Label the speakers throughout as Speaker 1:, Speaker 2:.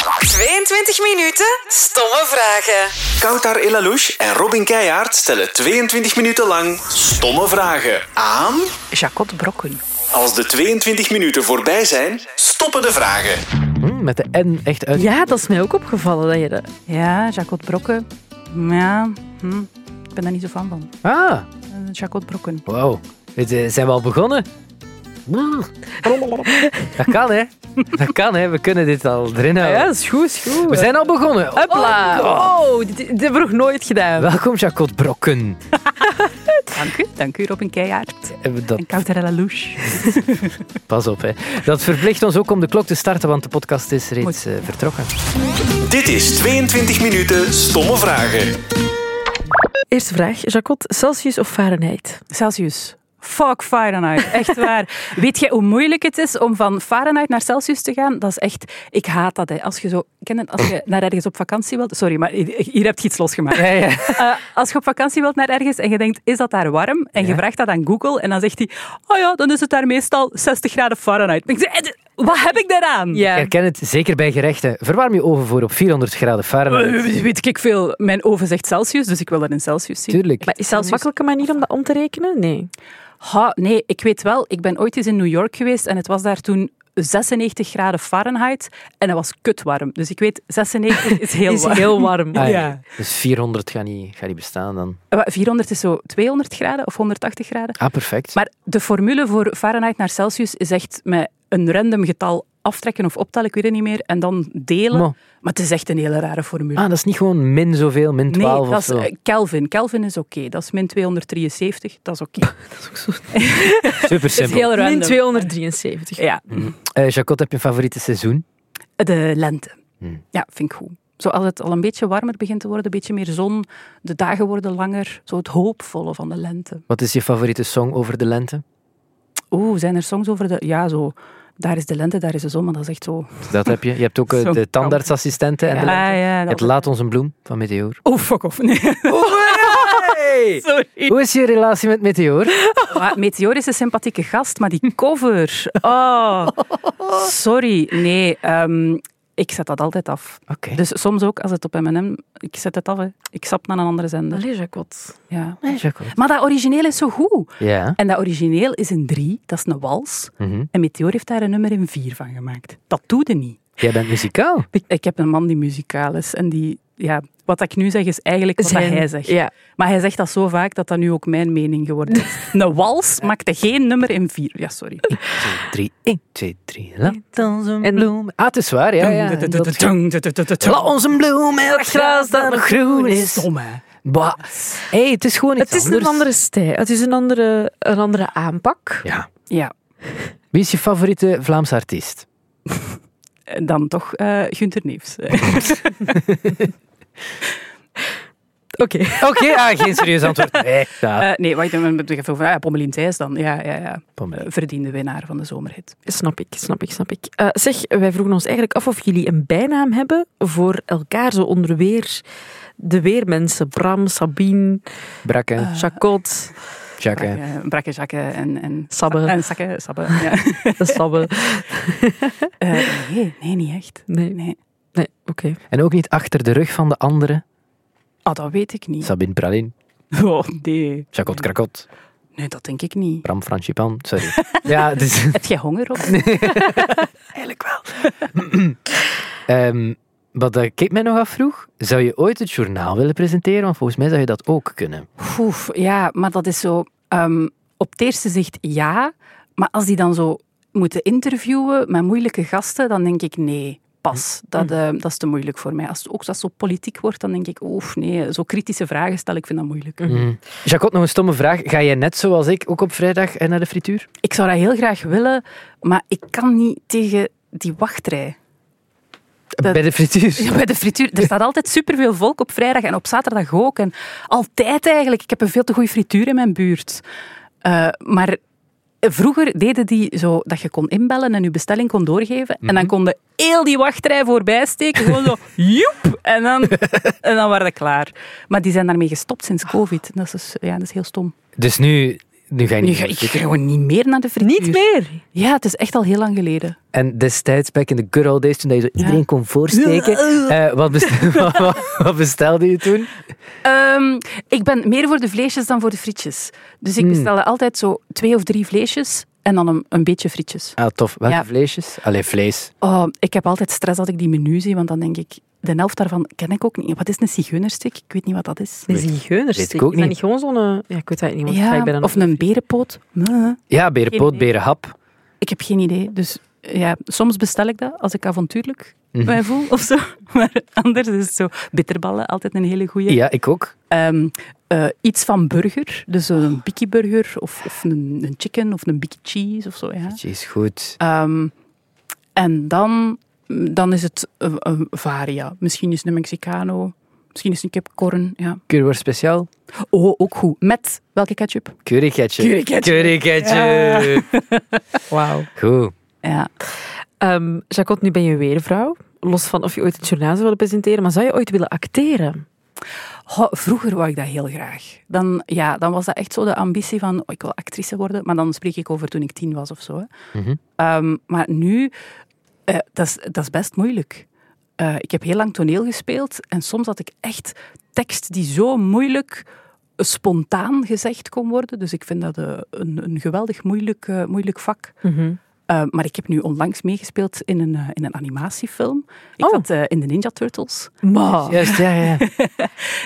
Speaker 1: In 20 minuten stomme vragen.
Speaker 2: Koutar Elalouche en Robin Keijaard stellen 22 minuten lang stomme vragen aan.
Speaker 3: Jacot Brokken.
Speaker 2: Als de 22 minuten voorbij zijn, stoppen de vragen.
Speaker 4: Hm, met de N echt uit.
Speaker 5: Ja, dat is mij ook opgevallen. Dat je dat...
Speaker 3: Ja, Jacot Brokken. Ja, hm, ik ben daar niet zo fan van.
Speaker 4: Ah,
Speaker 3: Eh, Jacot Brokken.
Speaker 4: wauw. Het, eh, Zijn we al begonnen? Mm. Dat kan, hè? Dat kan, hè? We kunnen dit al erin
Speaker 5: Ja,
Speaker 4: houden.
Speaker 5: dat is goed, is goed.
Speaker 4: We zijn al begonnen.
Speaker 5: Hopla.
Speaker 4: Oh.
Speaker 5: Oh, dit, dit hebben we nog nooit gedaan.
Speaker 4: Welkom, Jacot Brokken.
Speaker 3: Dank u, dank u Robin Keijaard.
Speaker 4: Eh, Dat,
Speaker 3: En Kouterella Louche.
Speaker 4: pas op, hè. Dat verplicht ons ook om de klok te starten, want de podcast is reeds eh, vertrokken.
Speaker 2: Dit is 22 minuten stomme vragen.
Speaker 5: Eerste vraag. Jacot, Celsius of Fahrenheit?
Speaker 3: Celsius. Fuck Fahrenheit, echt waar. Weet jij hoe moeilijk het is om van Fahrenheit naar Celsius te gaan? Dat is echt... Ik haat dat, hè. Als je zo... Ken het, als je naar ergens op vakantie wilt... Sorry, maar hier heb je iets losgemaakt.
Speaker 4: Ja, ja.
Speaker 3: Eh, als je op vakantie wilt naar ergens en je denkt, is dat daar warm? En je vraagt dat aan Google en dan zegt hij, oh ja, dan is het daar meestal 60 graden Fahrenheit. Maar Ik zeg, eh, wat heb ik daaraan?
Speaker 4: Ik herken het zeker bij gerechten. Verwarm je oven voor op 400 graden Fahrenheit.
Speaker 3: Eh, Weet ik veel. Mijn oven zegt Celsius, dus ik wil dat in Celsius zien.
Speaker 4: Tuurlijk.
Speaker 5: Maar is dat een
Speaker 3: Celsius.
Speaker 5: makkelijke manier om dat om te rekenen? Nee.
Speaker 3: Ha, nee, ik weet wel. Ik ben ooit eens in New York geweest en het was daar toen 96 graden Fahrenheit en dat was kutwarm. Dus ik weet, 96 is heel
Speaker 5: is
Speaker 3: warm.
Speaker 5: heel warm.
Speaker 4: Ah,
Speaker 3: ja.
Speaker 4: Dus 400 gaat niet, gaat niet bestaan dan.
Speaker 3: Eh, wat, 400 is zo 200 graden of 180 graden.
Speaker 4: Ah, perfect.
Speaker 3: Maar de formule voor Fahrenheit naar Celsius is echt met een random getal aftrekken of optellen, ik weet het niet meer, en dan delen.
Speaker 4: Mo.
Speaker 3: Maar het is echt een hele rare formule.
Speaker 4: Ah, dat is niet gewoon min zoveel, min 12
Speaker 3: nee, dat
Speaker 4: of
Speaker 3: is
Speaker 4: zo.
Speaker 3: eh, Kelvin. Kelvin is oké. Dat is min 273. Dat is oké.
Speaker 4: Super
Speaker 3: Het is
Speaker 4: simpel.
Speaker 3: heel
Speaker 5: Min
Speaker 3: random.
Speaker 5: 273.
Speaker 3: Ja,
Speaker 4: Eh, Jacot, heb je een favoriete seizoen?
Speaker 3: de lente.
Speaker 4: Hmm.
Speaker 3: Ja, vind ik goed. Zo als het al een beetje warmer begint te worden, een beetje meer zon, de dagen worden langer. Zo het hoopvolle van de lente.
Speaker 4: Wat is je favoriete song over de lente?
Speaker 3: Oeh, zijn er songs over de... Ja, zo... Daar is de lente, daar is de zon, maar dat is echt zo...
Speaker 4: Dat heb je. Je hebt ook eh,
Speaker 3: Zo'n
Speaker 4: de tandartsassistenten en de lente.
Speaker 3: Ah, ja,
Speaker 4: Het
Speaker 3: dat...
Speaker 4: Laat ons een bloem van Meteor.
Speaker 3: Oh, fuck off. Nee,
Speaker 4: Hey!
Speaker 3: sorry.
Speaker 4: Hoe is je relatie met Meteor?
Speaker 3: Maar Meteor is een sympathieke gast, maar die cover. Oh, sorry. Nee, ehm, ik zet dat altijd af.
Speaker 4: Oké.
Speaker 3: Dus soms ook als het op MM. Ik zet het af, hè. ik sap naar een andere zender.
Speaker 5: Allee, Jacot.
Speaker 3: Ja.
Speaker 4: Jacot.
Speaker 3: Maar dat origineel is zo goed.
Speaker 4: Ja.
Speaker 3: En dat origineel is in drie, dat is een wals.
Speaker 4: Mhm.
Speaker 3: En Meteor heeft daar een nummer in vier van gemaakt. Dat doet hij niet.
Speaker 4: Jij bent muzikaal.
Speaker 3: Ik, ik heb een man die muzikaal is en die. Ja, wat ik nu zeg is eigenlijk wat dat hij zegt.
Speaker 5: Ja.
Speaker 3: Maar hij zegt dat zo vaak dat dat nu ook mijn mening geworden is. Een wals maakte geen nummer in vier. Ja, sorry.
Speaker 4: 3, 1, 2, 3. Laat ons een
Speaker 5: En-
Speaker 4: bloem. Ah, het is waar. Ja, ja. Dat- Laat ons een bloem, elk gras dat nog groen is.
Speaker 3: Stom, hè?
Speaker 4: Bah. hey, het is gewoon iets
Speaker 5: Het is
Speaker 4: anders.
Speaker 5: een andere stijl. Het is een andere, een andere aanpak.
Speaker 4: Ja.
Speaker 3: Ja,
Speaker 4: Wie is je favoriete Vlaamse artiest?
Speaker 3: dan toch eh Gunther Neefs.
Speaker 5: Oké.
Speaker 4: Oké, ah, geen serieus antwoord. Nee, nou,
Speaker 3: Eh, nee, wacht, dan heb ik even over ah, ja, Pommelien Thijs dan. Ja, ja, ja. Eh,
Speaker 4: Pommelien.
Speaker 3: Verdiende winnaar van de zomerhit.
Speaker 5: Snap ik, snap ik, snap ik. Eh, zeg, wij vroegen ons eigenlijk af of jullie een bijnaam hebben voor elkaar, zo onder weer. De weermensen, Bram, Sabine,
Speaker 4: Brakke,
Speaker 5: Ah. Eh. Jacot,
Speaker 4: Jacke.
Speaker 3: Brakke, Eh, brakke zakken en, en
Speaker 5: Sabbe.
Speaker 3: En zakken, sabbe. Ja.
Speaker 5: Sabbe.
Speaker 3: Eh, nee, nee, niet echt.
Speaker 5: Nee, nee,
Speaker 3: Nee.
Speaker 5: oké.
Speaker 4: En ook niet achter de rug van de andere.
Speaker 3: Ah, dat weet ik niet.
Speaker 4: Sabine Pralin,
Speaker 3: Oh, nee.
Speaker 4: Jacot Krakot,
Speaker 3: Nee, dat denk ik niet.
Speaker 4: Bram Franchipan. Sorry. Ja, dus...
Speaker 3: Heb jij honger op?
Speaker 4: Eigenlijk wel. Ehm, wat eh, ik mij nog afvroeg, zou je ooit het journaal willen presenteren? Want volgens mij zou je dat ook kunnen.
Speaker 3: Oef, ja, maar dat is zo. ehm, op het eerste zicht ja, maar als die dan zo moeten interviewen met moeilijke gasten, dan denk ik nee. Pas, dat, eh, dat is te moeilijk voor mij. Als het ook dat zo politiek wordt, dan denk ik, oef, nee, zo kritische vragen stellen, ik vind dat moeilijk.
Speaker 4: Jacot, nog een stomme vraag. Ga jij net zoals ik ook op vrijdag eh, naar de frituur?
Speaker 3: Ik zou dat heel graag willen, maar ik kan niet tegen die wachtrij. Dat-
Speaker 4: Bij de frituur?
Speaker 3: Ja, Bij de frituur, er staat altijd superveel volk op vrijdag en op zaterdag ook. En altijd eigenlijk. Ik heb een veel te goede frituur in mijn buurt. Eh, maar vroeger deden die zo dat je kon inbellen en je bestelling kon doorgeven. En dan kon de heel die wachtrij voorbij steken. Gewoon zo, joep! En dan, en dan waren we klaar. Maar die zijn daarmee gestopt sinds covid. Dat is, dus- ja, dat is heel stom.
Speaker 4: Dus nu Nu ga je
Speaker 3: Nu
Speaker 4: niet
Speaker 3: ga
Speaker 4: meer
Speaker 3: ik
Speaker 4: zitten.
Speaker 3: gewoon niet meer naar de frituur.
Speaker 5: Niet meer.
Speaker 3: Ja, het is echt al heel lang geleden.
Speaker 4: En destijds, back in the good old days, toen je zo iedereen kon voorsteken, eh, wat, best- wat- wat- wat bestelde je toen?
Speaker 3: Ehm, ik ben meer voor de vleesjes dan voor de frietjes. Dus
Speaker 4: Hmm.
Speaker 3: ik bestel altijd zo twee of drie vleesjes en dan een, een beetje frietjes.
Speaker 4: Ah, tof. Welke
Speaker 3: Ja.
Speaker 4: vleesjes? Allee, vlees.
Speaker 3: Oh, ik heb altijd stress als ik die menu zie, want dan denk ik, de helft daarvan ken ik ook niet. Wat is een zigeunerstik? Ik weet niet wat dat is.
Speaker 5: Een zigeunerstik.
Speaker 4: weet ik ook
Speaker 5: Is
Speaker 4: niet.
Speaker 5: dat niet gewoon zo'n... eh, Ja, ik weet dat niet. Want ik ben
Speaker 3: Ja,
Speaker 5: dan
Speaker 3: of een berenpoot. Nee,
Speaker 4: Ja, berenpoot,
Speaker 3: Geen idee.
Speaker 4: berenhap.
Speaker 3: Ik heb geen idee. Dus ja, soms bestel ik dat als ik avontuurlijk
Speaker 4: Mhm.
Speaker 3: mij voel of zo. Maar anders is het zo. Bitterballen, altijd een hele goeie.
Speaker 4: Ja, ik ook.
Speaker 3: Ehm, eh, iets van burger, dus een bikkie burger of, of een, een chicken of een bikkie cheese of zo. Ja.
Speaker 4: Jeez, goed.
Speaker 3: Ehm, en dan, dan is het een, een varia. Misschien is het een Mexicano, misschien is het een kipkorn. Ja.
Speaker 4: Curryworst speciaal?
Speaker 3: Oh, ook goed. Met welke ketchup?
Speaker 4: Curry ketchup.
Speaker 3: Curry ketchup.
Speaker 4: Curry ketchup.
Speaker 5: Wauw.
Speaker 4: Goed.
Speaker 3: Ja.
Speaker 5: Ehm Jacotte, nu ben je weer vrouw. Los van of je ooit een journaal zou willen presenteren, maar zou je ooit willen acteren?
Speaker 3: Goh, vroeger wou ik dat heel graag. Dan, ja, dan was dat echt zo de ambitie van, oh, ik wil actrice worden. Maar dan spreek ik over toen ik tien was of zo. hè. Ehm, maar nu, eh, dat, is, dat is best moeilijk. Eh, ik heb heel lang toneel gespeeld en soms had ik echt tekst die zo moeilijk spontaan gezegd kon worden. Dus ik vind dat eh, een, een geweldig moeilijk, eh, moeilijk vak. Eh, maar ik heb nu onlangs meegespeeld in een, eh, in een animatiefilm. Ik
Speaker 5: Oh.
Speaker 3: zat eh, in de Ninja Turtles.
Speaker 5: Maar.
Speaker 4: Juist, ja, ja.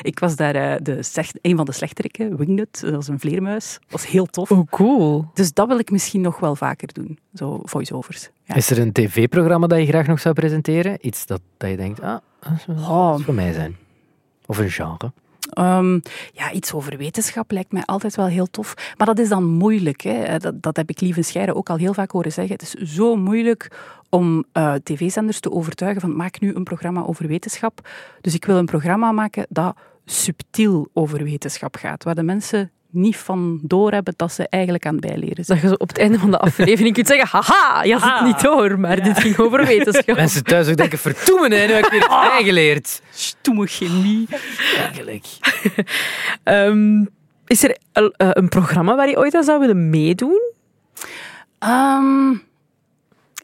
Speaker 3: Ik was daar eh, de slecht, een van de slechterikken, Wingnut, dat was een vleermuis. Dat was heel tof.
Speaker 5: Oh, cool.
Speaker 3: Dus dat wil ik misschien nog wel vaker doen, zo voice-overs. Ja.
Speaker 4: Is er een tv-programma dat je graag nog zou presenteren? Iets dat, dat je denkt, ah, dat zou
Speaker 3: Oh,
Speaker 4: voor mij zijn. Of een genre.
Speaker 3: ehm, ja, iets over wetenschap lijkt mij altijd wel heel tof. Maar dat is dan moeilijk. Hè? Eh, Dat, dat heb ik Lieve Scheire ook al heel vaak horen zeggen. Het is zo moeilijk om eh, tv-zenders te overtuigen van maak nu een programma over wetenschap. Dus ik wil een programma maken dat subtiel over wetenschap gaat. Waar de mensen niet van doorhebben dat ze eigenlijk aan het bijleren zijn.
Speaker 5: Dat je zo op het einde van de aflevering kunt zeggen, haha, je had het niet door, maar dit ging over wetenschap.
Speaker 4: Mensen thuis ook denken, vertoemen, hè, nu heb ik weer iets bijgeleerd.
Speaker 3: Stomme Ah. chemie.
Speaker 4: Eigenlijk.
Speaker 5: Ehm, is er al, eh, een programma waar je ooit aan zou willen meedoen?
Speaker 3: Ehm,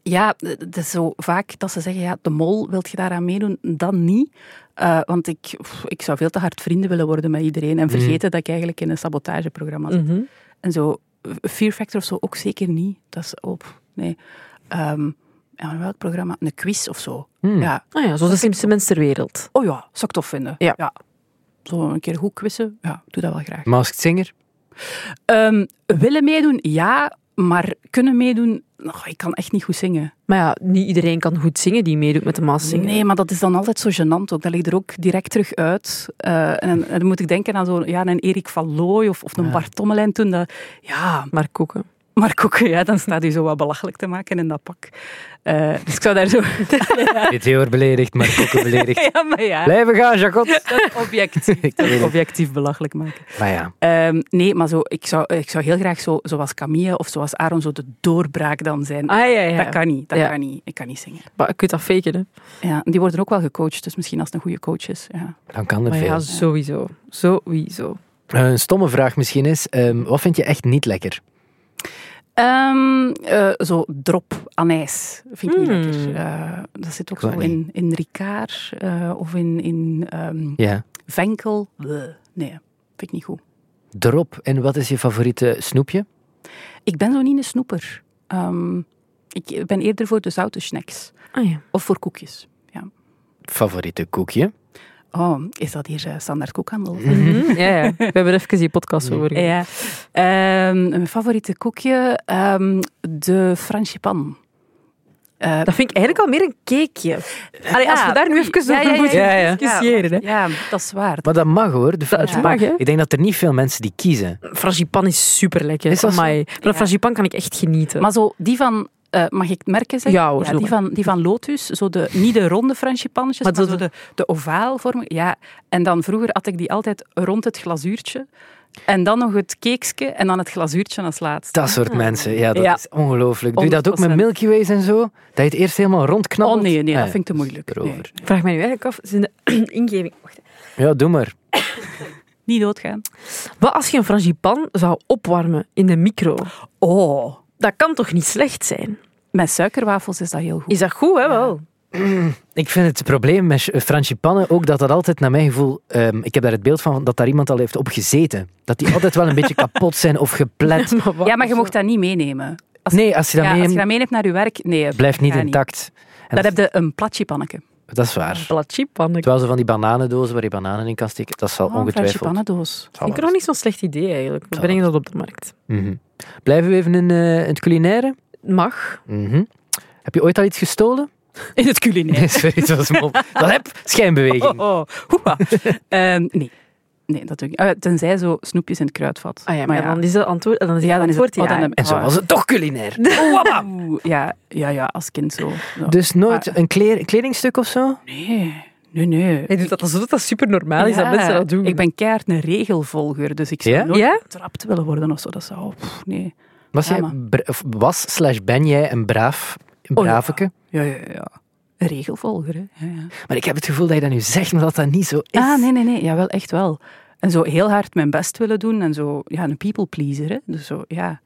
Speaker 3: ja, het is zo vaak dat ze zeggen, ja, de mol, wilt je daaraan meedoen? Dan niet. Eh, want ik, pff, ik zou veel te hard vrienden willen worden met iedereen en vergeten dat ik eigenlijk in een sabotageprogramma zit. En zo, eh, Fear Factor of zo ook zeker niet. Dat is op, nee. Ehm, ja, maar welk programma? Een quiz of zo. Ja.
Speaker 5: Ah ja, zoals de slimste mens ter wereld.
Speaker 3: Oh ja, zou ik tof vinden.
Speaker 5: Ja.
Speaker 3: Zo een keer goed quizzen, ja, doe dat wel graag.
Speaker 4: Masked Singer?
Speaker 3: Ehm, willen meedoen? Ja. Maar kunnen meedoen? Oh, ik kan echt niet goed zingen.
Speaker 5: Maar ja, niet iedereen kan goed zingen die meedoet met de maas zingen.
Speaker 3: Nee, maar dat is dan altijd zo gênant ook. Dat ligt er ook direct terug uit. Eh, en, en dan moet ik denken aan zo'n ja, een Erik van Looy of, of een Bart Tommelijn toen. Dat, ja,
Speaker 5: Maar koken.
Speaker 3: maar koken, ja, dan staat hij zo wat belachelijk te maken in dat pak. Eh, dus ik zou daar zo...
Speaker 4: Dit heel erg beledigd, maar koken beledigd.
Speaker 3: ja, maar ja,
Speaker 4: Blijven gaan, Jacot.
Speaker 3: object. Objectief belachelijk maken.
Speaker 4: Maar ja,
Speaker 3: Ehm, nee, maar zo, ik, zou, ik zou heel graag zo, zoals Camille of zoals Aaron zo de doorbraak dan zijn.
Speaker 5: Ah ja, ja. Ah,
Speaker 3: Dat kan niet, dat
Speaker 5: Ja.
Speaker 3: kan niet. Ik kan niet zingen.
Speaker 5: Maar je kunt dat faken, hè.
Speaker 3: Ja, die worden ook wel gecoacht, dus misschien als het een goede coach is. Ja.
Speaker 4: dan kan er
Speaker 5: Maar
Speaker 4: veel.
Speaker 5: ja, sowieso. Sowieso.
Speaker 4: Eh, een stomme vraag misschien is, ehm, wat vind je echt niet lekker?
Speaker 3: Ehm, eh, zo drop anijs vind ik
Speaker 5: Hmm.
Speaker 3: niet lekker. Eh, dat zit ook
Speaker 4: Ik weet
Speaker 3: zo
Speaker 4: het
Speaker 3: in, in Ricard eh, of in, in ehm,
Speaker 4: Ja.
Speaker 3: Venkel. Bleh. Nee, vind ik niet goed.
Speaker 4: Drop. En wat is je favoriete snoepje?
Speaker 3: Ik ben zo niet een snoeper. Ehm, ik ben eerder voor de zoute snacks
Speaker 5: Ah ja.
Speaker 3: of voor koekjes. Ja.
Speaker 4: Favoriete koekje?
Speaker 3: Oh, is dat hier eh, standaard koekhandel?
Speaker 5: Mhm. Ja, ja. We hebben er even die podcast over gehad.
Speaker 3: Ja. Ehm, mijn favoriete koekje, ehm, de franchipan. Eh,
Speaker 5: Dat vind ik eigenlijk al meer een cakeje. Allee, als
Speaker 3: ja,
Speaker 5: we daar nu
Speaker 3: oei.
Speaker 5: even
Speaker 3: Ah, Ja,
Speaker 5: over
Speaker 3: ja, ja,
Speaker 5: moeten
Speaker 4: ja, ja.
Speaker 5: discussiëren. hè.
Speaker 3: ja, dat is waar.
Speaker 4: Maar dat mag hoor. De Franse
Speaker 5: mag, hè?
Speaker 4: Ik denk dat er niet veel mensen die kiezen.
Speaker 5: Frangipan is super lekker.
Speaker 4: Is dat zo?
Speaker 5: Amai. Van een frangipan kan ik echt genieten.
Speaker 3: Maar zo, die van, eh, mag ik het merken zeggen?
Speaker 5: Ja hoor, doe
Speaker 3: die,
Speaker 5: maar.
Speaker 3: van, die van Lotus, zo de, niet de ronde frangipannetjes, maar,
Speaker 5: Maar
Speaker 3: zo
Speaker 5: zo
Speaker 3: de, de ovaalvorm. Ja, en dan vroeger had ik die altijd rond het glazuurtje. En dan nog het keekske en dan het glazuurtje als laatste.
Speaker 4: Dat soort mensen. Ja, dat
Speaker 3: Ah. Ja.
Speaker 4: is ongelooflijk. Doe je dat ook met
Speaker 3: 100%.
Speaker 4: Milky Ways en zo? Dat je het eerst helemaal rondknabbelt?
Speaker 3: Oh nee, nee, dat
Speaker 4: Ah,
Speaker 3: vind ik te moeilijk.
Speaker 4: erover.
Speaker 5: Ik vraag mij nu eigenlijk af, is in de ingeving... Wacht,
Speaker 4: Ja, doe maar.
Speaker 3: Niet doodgaan.
Speaker 5: Wat als je een frangipan zou opwarmen in de micro?
Speaker 3: Oh.
Speaker 5: Dat kan toch niet slecht zijn?
Speaker 3: Met suikerwafels is dat heel goed.
Speaker 5: Is dat goed, hè? Wel?
Speaker 4: Ik vind het probleem met eh, frangipannen ook dat dat altijd, naar mijn gevoel, ehm, ik heb daar het beeld van dat daar iemand al heeft op gezeten. Dat die altijd wel een beetje kapot zijn of geplet.
Speaker 3: Ja, maar je mocht dat niet meenemen. Als,
Speaker 4: Nee, als je
Speaker 3: ja, als
Speaker 4: dat
Speaker 3: je
Speaker 4: meeneemt,
Speaker 3: dat meeneemt naar je werk, nee.
Speaker 4: blijft niet
Speaker 3: gaat
Speaker 4: intact. En
Speaker 3: Dan
Speaker 4: dat,
Speaker 3: heb je een Oh, platjepanneke.
Speaker 4: dat is waar.
Speaker 5: Platjipan. Ik
Speaker 4: Terwijl ze van die bananendozen waar je bananen in kan steken, dat zal
Speaker 3: Oh, een
Speaker 4: ongetwijfeld.
Speaker 3: platjepannendoos.
Speaker 4: zal
Speaker 5: vind het
Speaker 4: wel.
Speaker 5: nog niet zo'n slecht idee, eigenlijk. We brengen dat op de markt.
Speaker 4: Mhm. Blijven we even in, eh, in het culinaire?
Speaker 5: Mag.
Speaker 4: Mhm. Heb je ooit al iets gestolen?
Speaker 3: In het culinair.
Speaker 4: Nee, sorry, dat was mop. Dat heb schijnbeweging.
Speaker 3: Oh, oh. Hoepa. Ehm, nee. Nee, dat doe ik niet. Eh, tenzij zo snoepjes in het kruidvat.
Speaker 5: Ah ja, maar dan is het antwoord, dan is het
Speaker 3: Ja, dan is het-
Speaker 5: antwoord
Speaker 3: oh, dan
Speaker 5: ja.
Speaker 3: heb-
Speaker 4: En zo was het toch culinair.
Speaker 3: Oeh, ja, ja, ja, als kind zo. Zo.
Speaker 4: Dus
Speaker 3: Ah.
Speaker 4: nooit een kleer- kledingstuk of zo?
Speaker 3: Nee, nee, nee.
Speaker 5: Hij doet dat alsof dat super normaal is
Speaker 3: Ja,
Speaker 5: dat mensen dat doen.
Speaker 3: Ik ben keihard een regelvolger, dus ik zou
Speaker 4: Ja?
Speaker 3: nooit
Speaker 5: Ja?
Speaker 3: betrapt willen worden of zo. Dat zou, pff, nee.
Speaker 4: Was, jij,
Speaker 3: Ja, maar-
Speaker 4: bra- of was slash ben jij een braaf, een
Speaker 3: Oh, ja.
Speaker 4: braveke?
Speaker 3: Ja, ja, ja. Een regelvolger, hè. Ja, ja.
Speaker 4: Maar ik heb het gevoel dat je dat nu zegt, maar dat dat niet zo is.
Speaker 3: Ah, nee, nee, nee. Jawel, echt wel. En zo heel hard mijn best willen doen en zo, ja, een people pleaser, hè. Dus zo, ja.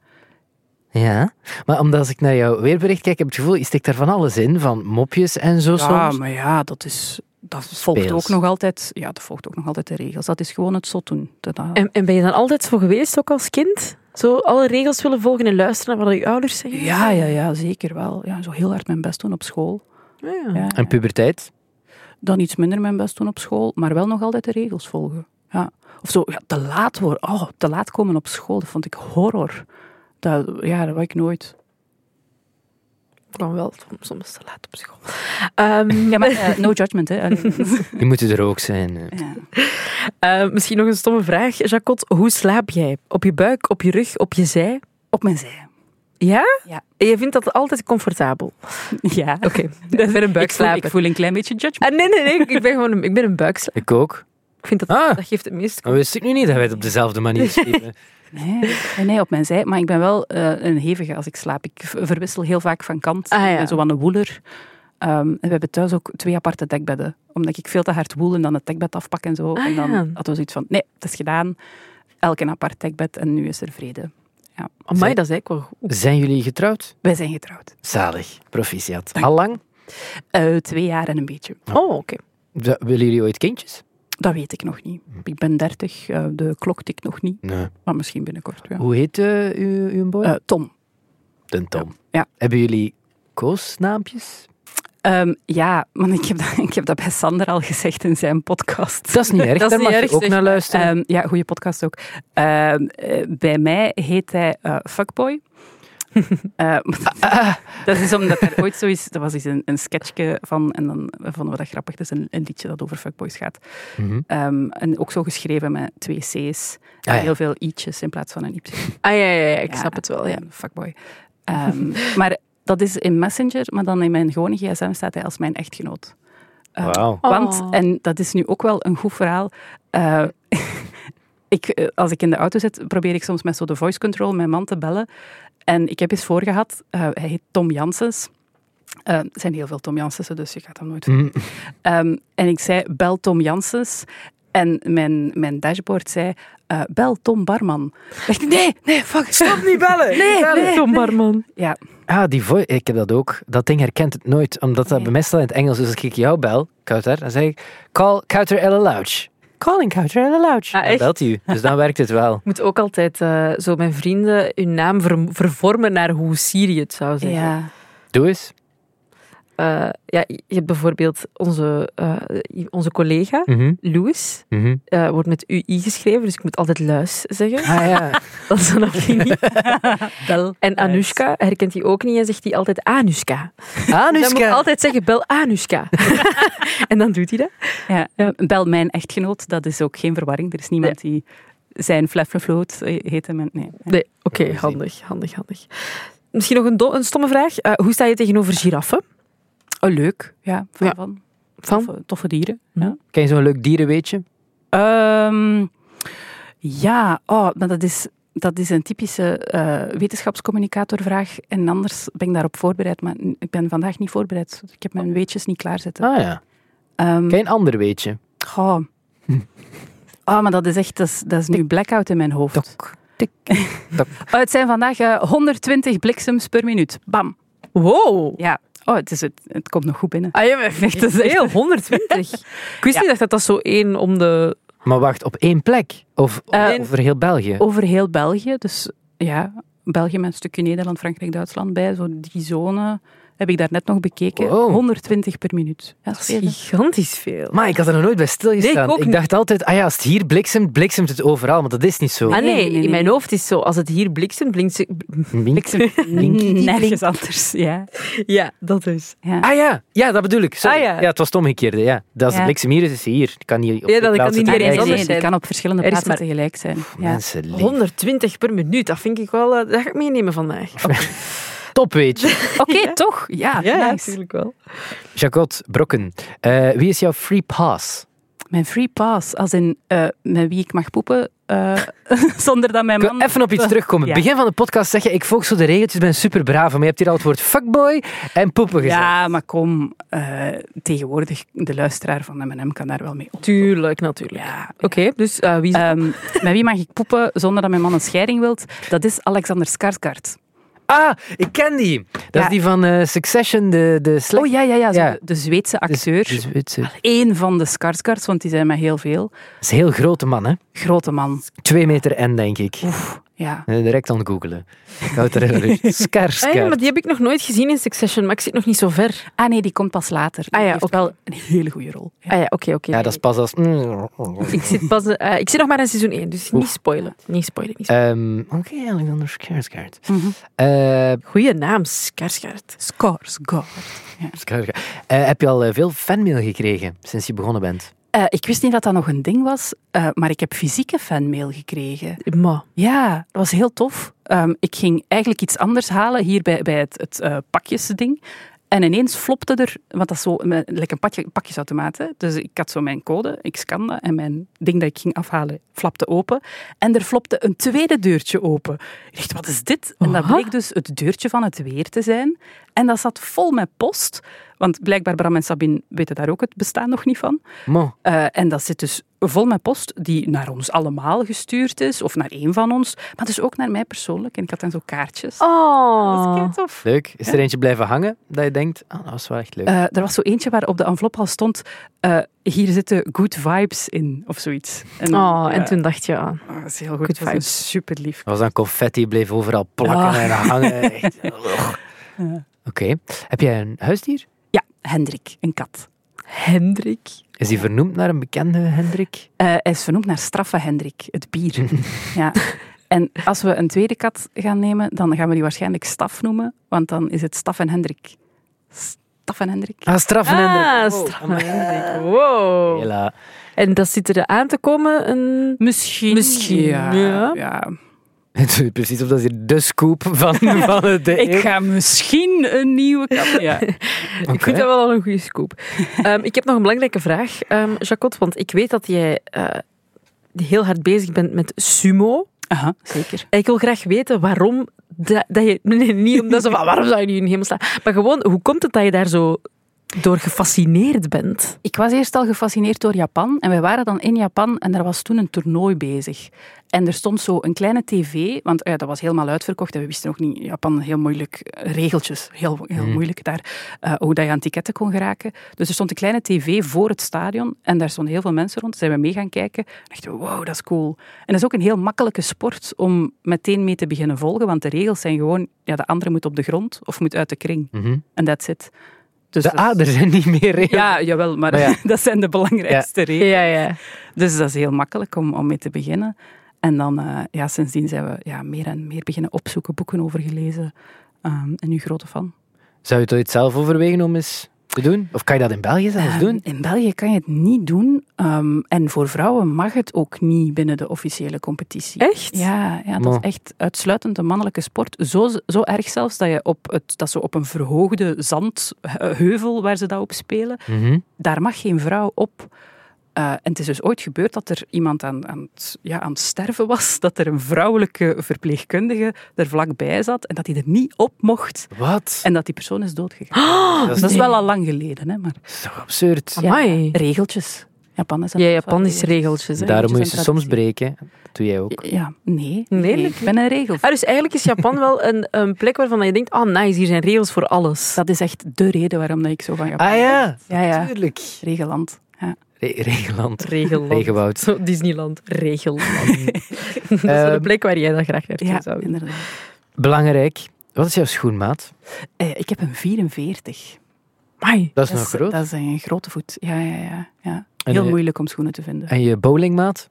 Speaker 4: Ja, maar omdat als ik naar jouw weerbericht kijk, heb ik het gevoel, je steekt daar van alles in, van mopjes en zo
Speaker 3: Ja,
Speaker 4: soms.
Speaker 3: maar ja, dat is... Dat volgt
Speaker 4: Speels.
Speaker 3: ook nog altijd... Ja, dat volgt ook nog altijd de regels. Dat is gewoon het zot doen. Dat- dat-
Speaker 5: En, en ben je dan altijd zo geweest, ook als kind? Zo alle regels willen volgen en luisteren naar wat je ouders zeggen?
Speaker 3: Ja, ja, ja, zeker wel. Ja, zo heel hard mijn best doen op school.
Speaker 5: Ja.
Speaker 3: Ja.
Speaker 4: En puberteit.
Speaker 3: Dan iets minder mijn best doen op school, maar wel nog altijd de regels volgen. Ja. Of zo, ja, te laat worden. Oh, te laat komen op school, dat vond ik horror. Dat, ja, dat wou ik nooit.
Speaker 5: Ik kwam wel soms te laat op school. Ehm,
Speaker 3: Ja, maar eh, no judgment, hè. Allee.
Speaker 4: Die moeten er ook zijn. eh.
Speaker 3: Ja.
Speaker 5: eh, misschien nog een stomme vraag, Jacot. Hoe slaap jij? Op je buik, op je rug, op je zij?
Speaker 3: Op mijn zij.
Speaker 5: Ja?
Speaker 3: Ja.
Speaker 5: En je vindt dat altijd comfortabel?
Speaker 3: Ja.
Speaker 5: Oké, ik ben een
Speaker 3: Ik voel, ik
Speaker 5: buikslaper.
Speaker 3: voel een klein beetje judgment.
Speaker 5: Ah, nee, nee, nee, ik ben gewoon een, ik ben een buikslaper.
Speaker 4: Ik ook.
Speaker 5: Ik vind dat,
Speaker 4: Ah.
Speaker 5: dat geeft het meest...
Speaker 4: Dat wist ik nu niet dat wij het op dezelfde manier schreven.
Speaker 3: Nee, nee, nee, op mijn zij. Maar ik ben wel eh, een hevige als ik slaap. Ik v- verwissel heel vaak van kant.
Speaker 5: Ah, ja.
Speaker 3: Ik ben zo aan een woeler. Ehm, en we hebben thuis ook twee aparte dekbedden. Omdat ik veel te hard woel en dan het dekbed afpak en zo.
Speaker 5: Ah,
Speaker 3: en dan
Speaker 5: ja.
Speaker 3: hadden we zoiets van, nee, het is gedaan. Elk een apart dekbed en nu is er vrede.
Speaker 5: Amai, dat is eigenlijk wel goed.
Speaker 4: Zijn jullie getrouwd?
Speaker 3: Wij zijn getrouwd.
Speaker 4: Zalig. Proficiat. Al lang?
Speaker 3: Eh, twee jaar en een beetje.
Speaker 5: Oh, oké.
Speaker 4: Z- Willen jullie ooit kindjes?
Speaker 3: Dat weet ik nog niet. Ik ben dertig, eh, de klok tikt nog niet.
Speaker 4: Nee.
Speaker 3: Maar misschien binnenkort, ja.
Speaker 4: Hoe heet eh, uw, uw boy?
Speaker 3: Eh, Tom.
Speaker 4: Den Tom.
Speaker 3: ja.
Speaker 4: Hebben jullie koosnaampjes?
Speaker 3: Ehm, ja, want ik heb, dat, ik heb dat bij Sander al gezegd in zijn podcast.
Speaker 4: Dat is niet erg,
Speaker 5: Dat is
Speaker 4: daar
Speaker 5: niet
Speaker 4: mag
Speaker 5: erg,
Speaker 4: je ook
Speaker 5: zeg.
Speaker 4: naar luisteren.
Speaker 3: Ehm, ja, goede podcast ook. Ehm, eh, bij mij heet hij eh, Fuckboy. Eh, dat is omdat er ooit zo is, dat was eens een, een sketchje van, en dan vonden we dat grappig, dat is een, een liedje dat over fuckboys gaat.
Speaker 4: Mhm.
Speaker 3: Ehm, en ook zo geschreven met twee C's, en
Speaker 4: Ah, ja.
Speaker 3: heel veel i'tjes in plaats van een y.
Speaker 5: Ah, ja, ja, ja, ik
Speaker 3: Ja,
Speaker 5: snap het wel, ja.
Speaker 3: ja, fuckboy. Ehm, maar dat is in Messenger, maar dan in mijn gewone gsm staat hij als mijn echtgenoot. Ehm,
Speaker 4: Wauw.
Speaker 3: want,
Speaker 5: Oh.
Speaker 3: en dat is nu ook wel een goed verhaal. eh, ik, eh, als ik in de auto zit, probeer ik soms met zo de voice control mijn man te bellen. En ik heb eens voorgehad, eh hij heet Tom Janssens. Eh, er zijn heel veel Tom Jansensen, dus je gaat hem nooit
Speaker 4: Mhm.
Speaker 3: Ehm, en ik zei, bel Tom Janssens. En mijn, mijn dashboard zei, eh, bel Tom Barman. Ik dacht, nee, nee, fuck. Stop niet bellen. Nee, nee.
Speaker 5: Tom Barman.
Speaker 3: Ja,
Speaker 4: Ah, die voice. Ik heb dat ook. Dat ding herkent het nooit, omdat dat
Speaker 3: Nee.
Speaker 4: bij mij staat in het Engels. Dus als ik jou bel, Kouter, dan zeg ik call Kouter Ella Louch. Calling Kouter Ella Louch. dan
Speaker 5: Ah, echt?
Speaker 4: belt hij u. Dus dan werkt het wel.
Speaker 5: Ik moet ook altijd eh, zo mijn vrienden hun naam ver- vervormen naar hoe Syrië het zou zijn. Ja.
Speaker 3: ja.
Speaker 4: Doe eens.
Speaker 5: ja, je hebt bijvoorbeeld onze, eh, onze collega,
Speaker 4: Mhm,
Speaker 5: Louis,
Speaker 4: mhm.
Speaker 5: eh, wordt met UI geschreven, dus ik moet altijd Luis zeggen.
Speaker 4: Ah ja.
Speaker 5: Dat is dan ook niet.
Speaker 3: Bel.
Speaker 5: En Anushka herkent hij ook niet en zegt hij altijd Anushka. Dus Dan moet ik
Speaker 4: Anuska.
Speaker 5: altijd zeggen, bel Anushka. en dan doet hij dat.
Speaker 3: Ja, bel mijn echtgenoot. Dat is ook geen verwarring. Er is niemand die zijn flefflefloot heet. hem en- Nee.
Speaker 5: Nee, oké, handig, handig, handig. Misschien nog een, do- een stomme vraag. Eh, hoe sta je tegenover giraffen?
Speaker 3: Oh, leuk. Ja, van,
Speaker 5: Ja.
Speaker 3: van.
Speaker 5: Van?
Speaker 3: Toffe, toffe dieren.
Speaker 5: Ja.
Speaker 3: Ja.
Speaker 4: Ken je zo'n leuk dierenweetje?
Speaker 3: Ehm, ja, oh, maar dat is, dat is een typische eh, wetenschapscommunicatorvraag. En anders ben ik daarop voorbereid, maar n- ik ben vandaag niet voorbereid. Ik heb mijn weetjes niet klaarzitten.
Speaker 4: Ah ja.
Speaker 3: Ehm,
Speaker 4: Ken je een ander weetje?
Speaker 3: goh. Ah, maar dat is echt, dat is, dat is nu blackout in mijn hoofd.
Speaker 4: Tok, tik, tok.
Speaker 3: Oh, het zijn vandaag eh, 120 bliksems per minuut. Bam.
Speaker 5: Wow.
Speaker 3: Ja. Oh, het, is het, het komt nog goed binnen.
Speaker 5: Ah, je bent echt
Speaker 3: dat is echt-
Speaker 5: heel 120. Ik wist
Speaker 3: Ja.
Speaker 5: niet echt dat dat zo één om de...
Speaker 4: Maar wacht, op één plek? Of
Speaker 3: Eh,
Speaker 4: over heel België?
Speaker 3: Over heel België, dus ja, België met een stukje Nederland, Frankrijk, Duitsland bij, zo die zone heb ik daarnet nog bekeken.
Speaker 4: Wow.
Speaker 3: 120 per minuut. Ja,
Speaker 5: Dat is
Speaker 3: veel, hè?
Speaker 5: gigantisch veel.
Speaker 4: Maar ik had er nog nooit bij
Speaker 5: Nee,
Speaker 4: stilgestaan.
Speaker 5: ik ook
Speaker 4: ik,
Speaker 5: niet.
Speaker 4: dacht altijd, ah ja, als het hier bliksemt, bliksemt het overal. Maar dat is niet zo.
Speaker 5: Ah nee,
Speaker 3: Nee, nee, nee.
Speaker 5: in mijn hoofd is zo, als het hier bliksemt, blinkt...
Speaker 4: Mink.
Speaker 3: Nergens anders, ja.
Speaker 5: Ja, dat is.
Speaker 3: ja.
Speaker 4: Ah ja, ja, dat bedoel ik. Sorry.
Speaker 5: Ah ja.
Speaker 4: ja. het was het omgekeerde. Ja. Dat als
Speaker 3: Ja.
Speaker 4: de bliksem hier is, is hij hier. Het kan niet op de
Speaker 5: Ja, dat kan
Speaker 4: plaatsen
Speaker 5: niet
Speaker 3: Ah,
Speaker 5: meer
Speaker 3: nee,
Speaker 5: ergens
Speaker 4: tegelijk
Speaker 3: nee,
Speaker 5: anders
Speaker 3: nee, dat
Speaker 5: zijn.
Speaker 3: kan op verschillende
Speaker 5: Er is
Speaker 3: plaatsen
Speaker 5: maar-
Speaker 3: tegelijk zijn. Ja.
Speaker 4: Mensen, lief.
Speaker 5: 120 per minuut, dat vind ik wel... eh, dat ga ik meenemen vandaag.
Speaker 4: Top, weet je.
Speaker 3: Oké, toch? Ja, nice.
Speaker 5: natuurlijk wel.
Speaker 4: Jacot Brokken, eh, wie is jouw free pass?
Speaker 3: Mijn free pass, als in eh, met wie ik mag poepen, eh, zonder dat mijn
Speaker 4: Ik wil
Speaker 3: man...
Speaker 4: even op iets terugkomen.
Speaker 3: Ja.
Speaker 4: Begin van de podcast zeg je, ik volg zo de regeltjes, ben super braaf. Maar je hebt hier al het woord fuckboy en poepen gezegd.
Speaker 3: Ja, maar kom, eh, tegenwoordig, de luisteraar van M&M kan daar wel mee op.
Speaker 5: Tuurlijk, natuurlijk.
Speaker 3: Ja,
Speaker 5: Oké, dus eh, wie...
Speaker 3: Ehm, met wie mag ik poepen zonder dat mijn man een scheiding wilt? Dat is Alexander Skarsgård.
Speaker 4: Ah, ik ken die. Dat
Speaker 3: Ja.
Speaker 4: is die van eh, Succession, de, de slecht...
Speaker 3: Oh ja, ja, ja. zo
Speaker 4: Ja.
Speaker 3: de- De Zweedse acteur.
Speaker 4: Dus het is-
Speaker 3: Eén van de Skarsgårds, want die zijn maar heel veel.
Speaker 4: het is een heel grote man, hè.
Speaker 3: Grote man.
Speaker 4: Twee meter en, denk ik.
Speaker 3: Ja.
Speaker 4: Eh, Direct aan het googelen. Ik houd er heel rust. Skar,
Speaker 5: Ah, ja,
Speaker 4: skar.
Speaker 5: maar die heb ik nog nooit gezien in Succession, maar ik zit nog niet zo ver.
Speaker 3: Ah nee, die komt pas later.
Speaker 5: Ah ja,
Speaker 3: die heeft
Speaker 5: oké.
Speaker 3: wel een hele goede rol. Ja.
Speaker 5: Ah ja, oké, oké.
Speaker 4: Ja, dat is pas als... Mm.
Speaker 5: Ik zit, pas, eh, ik zit nog maar aan seizoen 1, dus niet spoilen. Niet spoilen, niet spoilen.
Speaker 4: Ehm, Oké, Alexander Skarsgård.
Speaker 3: Mhm.
Speaker 4: Eh,
Speaker 5: Goeie naam, Skarsgård.
Speaker 3: Skarsgård.
Speaker 4: Skarsgård. Eh, heb je al eh, veel fanmail gekregen sinds je begonnen bent?
Speaker 3: Eh, ik wist niet dat dat nog een ding was, eh, maar ik heb fysieke fanmail gekregen.
Speaker 5: Ma.
Speaker 3: Ja, dat was heel tof. Ehm, ik ging eigenlijk iets anders halen hier bij, bij het, het eh, pakjesding. En ineens flopte er, want dat is zo eh, like een pakje, pakjesautomaat. hè. Dus ik had zo mijn code, ik scande en mijn ding dat ik ging afhalen flapte open. En er flopte een tweede deurtje open. Ik dacht, wat is dit? En dat
Speaker 5: Aha.
Speaker 3: bleek dus het deurtje van het weer te zijn. En dat zat vol met post. Want blijkbaar Bram en Sabine weten daar ook het bestaan nog niet van.
Speaker 4: Mo.
Speaker 3: Eh, en dat zit dus vol met post die naar ons allemaal gestuurd is, of naar één van ons, maar dus ook naar mij persoonlijk. En ik had dan zo kaartjes.
Speaker 5: Oh.
Speaker 3: Dat is tof.
Speaker 4: Leuk. Is er eentje blijven hangen dat je denkt, ah, dat was wel echt leuk.
Speaker 3: Eh, er was zo eentje waar op de envelop al stond, eh, hier zitten good vibes in, of zoiets. En,
Speaker 5: Oh, en
Speaker 3: ja,
Speaker 5: toen dacht je aan.
Speaker 3: oh, dat is heel goed. Dat
Speaker 5: Good
Speaker 3: was
Speaker 5: vibes.
Speaker 3: Super lief.
Speaker 4: Dat was dan confetti, bleef overal plakken
Speaker 3: Ah.
Speaker 4: en hangen. Echt. Oké. Heb jij een huisdier?
Speaker 3: Ja, Hendrik, een kat.
Speaker 5: Hendrik.
Speaker 4: Is die vernoemd naar een bekende Hendrik?
Speaker 3: Eh, hij is vernoemd naar Straffe Hendrik, het bier. ja. En als we een tweede kat gaan nemen, dan gaan we die waarschijnlijk Staf noemen, want dan is het Staf en Hendrik. Staf en Hendrik.
Speaker 4: Ah, straffen Oh.
Speaker 5: Ah,
Speaker 4: Hendrik.
Speaker 5: stramme Hendrik. Wow.
Speaker 4: Hela.
Speaker 5: En dat zit er aan te komen. Een...
Speaker 3: Misschien.
Speaker 5: Misschien,
Speaker 3: Ja.
Speaker 5: ja.
Speaker 3: ja.
Speaker 4: Het is Precies of dat is hier de scoop van, van de
Speaker 3: Ik ga misschien een nieuwe kat. Ja.
Speaker 5: Ik vind dat wel al een goede scoop. Ehm, ik heb nog een belangrijke vraag, ehm Jacot. Want ik weet dat jij eh, heel hard bezig bent met sumo.
Speaker 3: Aha, zeker.
Speaker 5: En ik wil graag weten waarom dat, dat je... Nee, nee, niet omdat ze van, waarom zou je nu in de hemel staan? Maar gewoon, hoe komt het dat je daar zo door gefascineerd bent?
Speaker 3: Ik was eerst al gefascineerd door Japan. En wij waren dan in Japan en er was toen een toernooi bezig. En er stond zo een kleine tv, want eh, dat was helemaal uitverkocht. En we wisten ook niet, Japan, heel moeilijk, eh, regeltjes, heel, heel moeilijk daar, eh, hoe dat je aan ticketten kon geraken. Dus er stond een kleine tv voor het stadion en daar stonden heel veel mensen rond. Zijn we mee gaan kijken. En dachten we, wow, dat is cool. En dat is ook een heel makkelijke sport om meteen mee te beginnen volgen, want de regels zijn gewoon, ja, de andere moet op de grond of moet uit de kring. En that's it. Dus
Speaker 4: De
Speaker 3: dat is-
Speaker 4: aderen zijn niet meer in.
Speaker 3: Ja, jawel, maar,
Speaker 4: Maar ja.
Speaker 3: dat zijn de belangrijkste regels.
Speaker 5: ja.
Speaker 3: Dus dat is heel makkelijk om, om mee te beginnen. En dan, eh, ja, sindsdien zijn we ja, meer en meer beginnen opzoeken, boeken over gelezen. Ehm, en nu grote fan.
Speaker 4: Zou je het ooit zelf overwegen om eens te doen? Of kan je dat in België zelfs doen?
Speaker 3: Ehm, In België kan je het niet doen. ehm, en voor vrouwen mag het ook niet binnen de officiële competitie.
Speaker 5: Echt?
Speaker 3: Ja, ja, dat
Speaker 4: Maar-
Speaker 3: is echt uitsluitend een mannelijke sport. Zo, zo erg zelfs dat, je op het, dat ze op een verhoogde zandheuvel, waar ze dat op spelen,
Speaker 4: Mhm.
Speaker 3: daar mag geen vrouw op. Eh, en het is dus ooit gebeurd dat er iemand aan, aan, het, ja, aan het sterven was, dat er een vrouwelijke verpleegkundige er vlakbij zat en dat hij er niet op mocht
Speaker 4: Wat?
Speaker 3: en dat die persoon
Speaker 4: Oh!
Speaker 3: is doodgegaan. dat is wel al lang geleden, hè, maar
Speaker 4: Dat is toch absurd?
Speaker 5: Amai.
Speaker 3: regeltjes. Japan is dat
Speaker 5: Ja,
Speaker 3: wel
Speaker 5: Japanische
Speaker 3: weer.
Speaker 5: regeltjes. Hè?
Speaker 3: Daar-
Speaker 4: Daarom moet je
Speaker 3: Regeltjes
Speaker 4: ze
Speaker 3: en
Speaker 4: soms
Speaker 3: traditie.
Speaker 4: breken. Dat doe jij ook.
Speaker 3: Ja, nee.
Speaker 5: Nee?
Speaker 3: Ik ben een regel.
Speaker 5: Ah, dus eigenlijk is Japan wel een, een plek waarvan je denkt, ah nice, hier zijn regels voor alles.
Speaker 3: Dat is echt de reden waarom dat ik zo van Japan
Speaker 4: Ah ja,
Speaker 3: Ja, ja.
Speaker 4: tuurlijk.
Speaker 3: Regeland. Ja.
Speaker 4: Re- Regeland.
Speaker 5: Regelland.
Speaker 4: Regenwoud.
Speaker 5: Zo, Disneyland, regelland. dat is wel
Speaker 4: Ehm,
Speaker 5: een plek waar jij dan graag naartoe
Speaker 3: Ja,
Speaker 5: zou willen.
Speaker 3: inderdaad.
Speaker 4: Belangrijk. Wat is jouw schoenmaat?
Speaker 3: Eh, ik heb een 44.
Speaker 5: Amai.
Speaker 4: Dat is nog groot.
Speaker 3: Dat is een grote voet. Ja, ja, ja. ja.
Speaker 4: En,
Speaker 3: Heel
Speaker 4: eh,
Speaker 3: moeilijk om schoenen te vinden.
Speaker 4: En je bowlingmaat?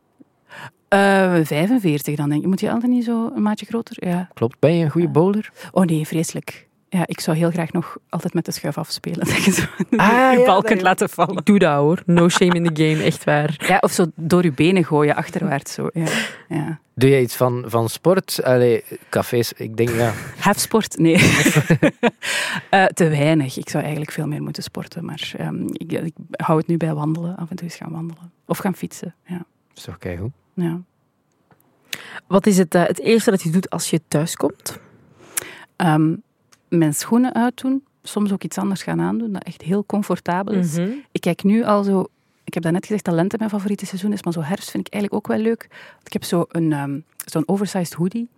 Speaker 3: Eh 45 dan denk ik. Moet je altijd niet zo een maatje groter? Ja.
Speaker 4: Klopt. Ben je een goede bowler?
Speaker 3: Oh nee, vreselijk. Ja, ik zou heel graag nog altijd met de schuif afspelen. Dat je zo
Speaker 4: ja,
Speaker 3: je bal
Speaker 4: dat
Speaker 3: kunt
Speaker 4: je-
Speaker 3: laten vallen.
Speaker 5: Ik doe dat hoor. No shame in the game, echt waar.
Speaker 3: Ja, of zo door je benen gooien, achterwaarts. Zo. Ja. Ja.
Speaker 4: Doe jij iets van, van sport? Allee, cafés, ik denk ja.
Speaker 3: Hefsport? Nee. Eh, te weinig. Ik zou eigenlijk veel meer moeten sporten. Maar ehm, ik, ik hou het nu bij wandelen. Af en toe eens gaan wandelen. Of gaan fietsen. Ja.
Speaker 4: Dat is toch keigoed.
Speaker 3: ja.
Speaker 5: Wat is het, eh, het eerste dat je doet als je thuiskomt?
Speaker 3: Ehm, mijn schoenen uitdoen. Soms ook iets anders gaan aandoen. Dat echt heel comfortabel is. Ik kijk nu al zo... Ik heb net gezegd dat lente mijn favoriete seizoen is. Maar zo herfst vind ik eigenlijk ook wel leuk. Want ik heb zo'n een ehm, zo'n oversized hoodie.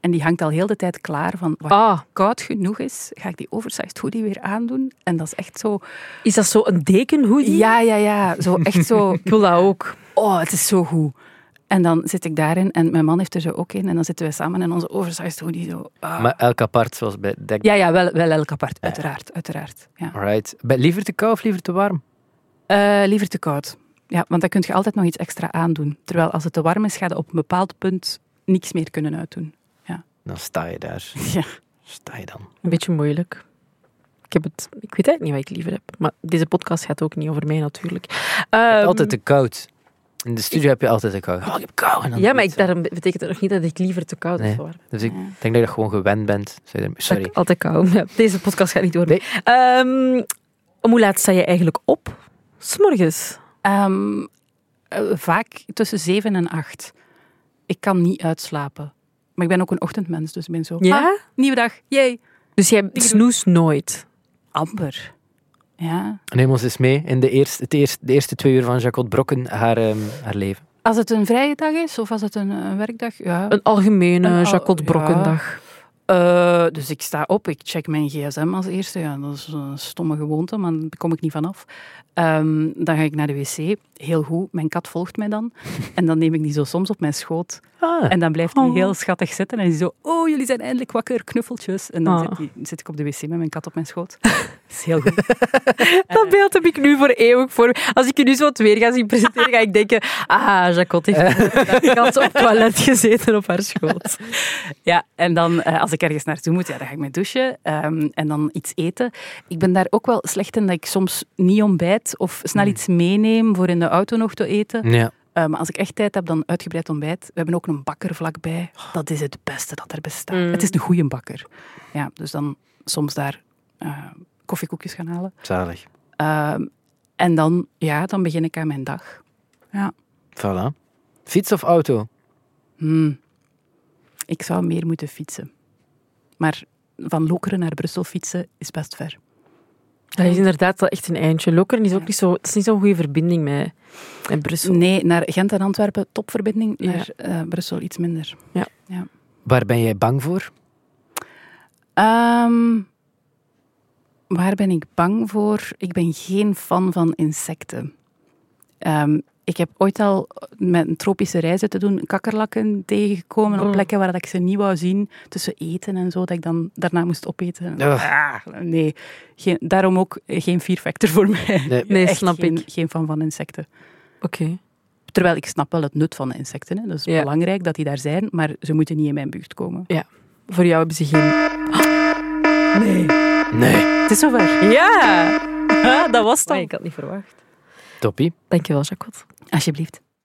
Speaker 3: En die hangt al heel de tijd klaar van... Wat
Speaker 5: Ah,
Speaker 3: koud genoeg is, ga ik die oversized hoodie weer aandoen. En dat is echt zo...
Speaker 5: is dat zo een dekenhoedie?
Speaker 3: Ja, ja, ja. Zo, echt zo.
Speaker 5: Ik wil dat ook.
Speaker 3: Oh, het is zo goed. En dan zit ik daarin en mijn man heeft er zo ook in. En dan zitten we samen in onze oversized hoodie. Zo. ah.
Speaker 4: Maar elk apart, zoals bij Dek.
Speaker 3: Ja, ja, wel, wel elk apart. Uiteraard, uiteraard. Ja.
Speaker 4: Alright. Ben- Liever te koud of liever te warm?
Speaker 3: Eh, liever te koud. Ja, want dan kun je altijd nog iets extra aandoen. Terwijl als het te warm is, ga je op een bepaald punt niks meer kunnen uitdoen.
Speaker 4: Dan sta je daar.
Speaker 3: Ja.
Speaker 4: Sta je dan.
Speaker 5: Een beetje moeilijk. Ik, heb het, ik weet eigenlijk niet wat ik liever heb. Maar deze podcast gaat ook niet over mij natuurlijk. Ehm,
Speaker 4: altijd te koud. In de studio heb je altijd te koud. Oh, ik heb kou. En dan
Speaker 5: ja, maar ik,
Speaker 4: zo.
Speaker 5: daarom betekent het nog niet dat ik liever te koud
Speaker 4: Nee.
Speaker 5: of warm.
Speaker 4: Dus ik denk dat je dat gewoon gewend bent. Zou je er-
Speaker 5: Dat ik
Speaker 4: Sorry.
Speaker 5: Altijd koud. Ja, deze podcast gaat niet door.
Speaker 4: Nee.
Speaker 5: Ehm, om hoe laat sta je eigenlijk op? S'morgens.
Speaker 3: Ehm, eh, vaak tussen zeven en acht. Ik kan niet uitslapen. Maar ik ben ook een ochtendmens, dus ik ben zo...
Speaker 5: Ja?
Speaker 3: "Ah, nieuwe dag, jee.
Speaker 5: Dus jij snoes nooit.
Speaker 3: Amber. Ja.
Speaker 4: Neem ons eens mee in de eerste, het eerste, de eerste twee uur van Jacot Brokken, haar, ehm, haar leven.
Speaker 3: Als het een vrije dag is of als het een, een werkdag, ja.
Speaker 5: Een algemene
Speaker 3: Een al-
Speaker 5: Jacot Brokkendag.
Speaker 3: Eh, dus ik sta op, ik check mijn gsm als eerste. Ja, dat is een stomme gewoonte, maar daar kom ik niet vanaf. Ehm, dan ga ik naar de wc. Heel goed, mijn kat volgt mij dan. En dan neem ik die zo soms op mijn schoot.
Speaker 4: Ah,
Speaker 3: En dan blijft hij
Speaker 5: Oh.
Speaker 3: heel schattig zitten. En hij zo, oh, jullie zijn eindelijk wakker, knuffeltjes. En dan
Speaker 5: Oh.
Speaker 3: zit, die- zit ik op de wc met mijn kat op mijn schoot. Dat is heel goed.
Speaker 5: Dat beeld heb ik nu voor eeuwig voor. me. Als ik je nu zo het weer ga zien presenteren, ga ik denken... Ah, Jacot heeft de kat op het toilet gezeten op haar schoot.
Speaker 3: Ja, en dan eh, als ik ergens naartoe moet, ja, dan ga ik me douchen ehm, en dan iets eten. Ik ben daar ook wel slecht in dat ik soms niet ontbijt of snel iets meeneem voor in de auto nog te eten.
Speaker 4: ja.
Speaker 3: Eh, maar als ik echt tijd heb, dan uitgebreid ontbijt. We hebben ook een bakker vlakbij. Oh, Dat is het beste dat er bestaat.
Speaker 5: Mm.
Speaker 3: Het is een goede bakker. Ja, dus dan soms daar eh, koffiekoekjes gaan halen.
Speaker 4: Zalig.
Speaker 3: Ehm, en dan, ja, dan begin ik aan mijn dag.
Speaker 4: Voilà. Fiets of auto?
Speaker 3: Hmm. Ik zou meer moeten fietsen. Maar van Lokeren naar Brussel fietsen is best ver.
Speaker 5: Dat is inderdaad wel echt een eindje. Lokeren is ook niet zo... Het is niet zo'n goede verbinding met, met Brussel.
Speaker 3: Nee, naar Gent en Antwerpen, topverbinding.
Speaker 5: Ja.
Speaker 3: Naar eh, Brussel iets minder.
Speaker 4: Waar ben jij bang voor?
Speaker 3: Ehm, waar ben ik bang voor? Ik ben geen fan van insecten. Ehm, ik heb ooit al met een tropische reizen te doen kakkerlakken tegengekomen op
Speaker 5: Mm.
Speaker 3: plekken waar dat ik ze niet wou zien. Tussen eten en zo, dat ik dan daarna moest opeten.
Speaker 4: Ugh.
Speaker 3: Ah, nee, geen, daarom ook eh, geen fear factor voor mij.
Speaker 4: Nee.
Speaker 5: Nee,
Speaker 3: Echt
Speaker 5: snap
Speaker 3: geen,
Speaker 5: ik.
Speaker 3: Geen fan van insecten.
Speaker 5: Oké.
Speaker 3: Terwijl ik snap wel het nut van de insecten. Hè. Dat is
Speaker 5: Ja.
Speaker 3: belangrijk dat die daar zijn, maar ze moeten niet in mijn buurt komen.
Speaker 5: Voor jou hebben ze geen...
Speaker 4: Nee.
Speaker 3: Het is zover.
Speaker 5: Ja!
Speaker 3: Ah, dat was
Speaker 5: Nee, ik had niet verwacht.
Speaker 4: Toppie.
Speaker 5: Dankjewel, Jacot.
Speaker 3: Alsjeblieft.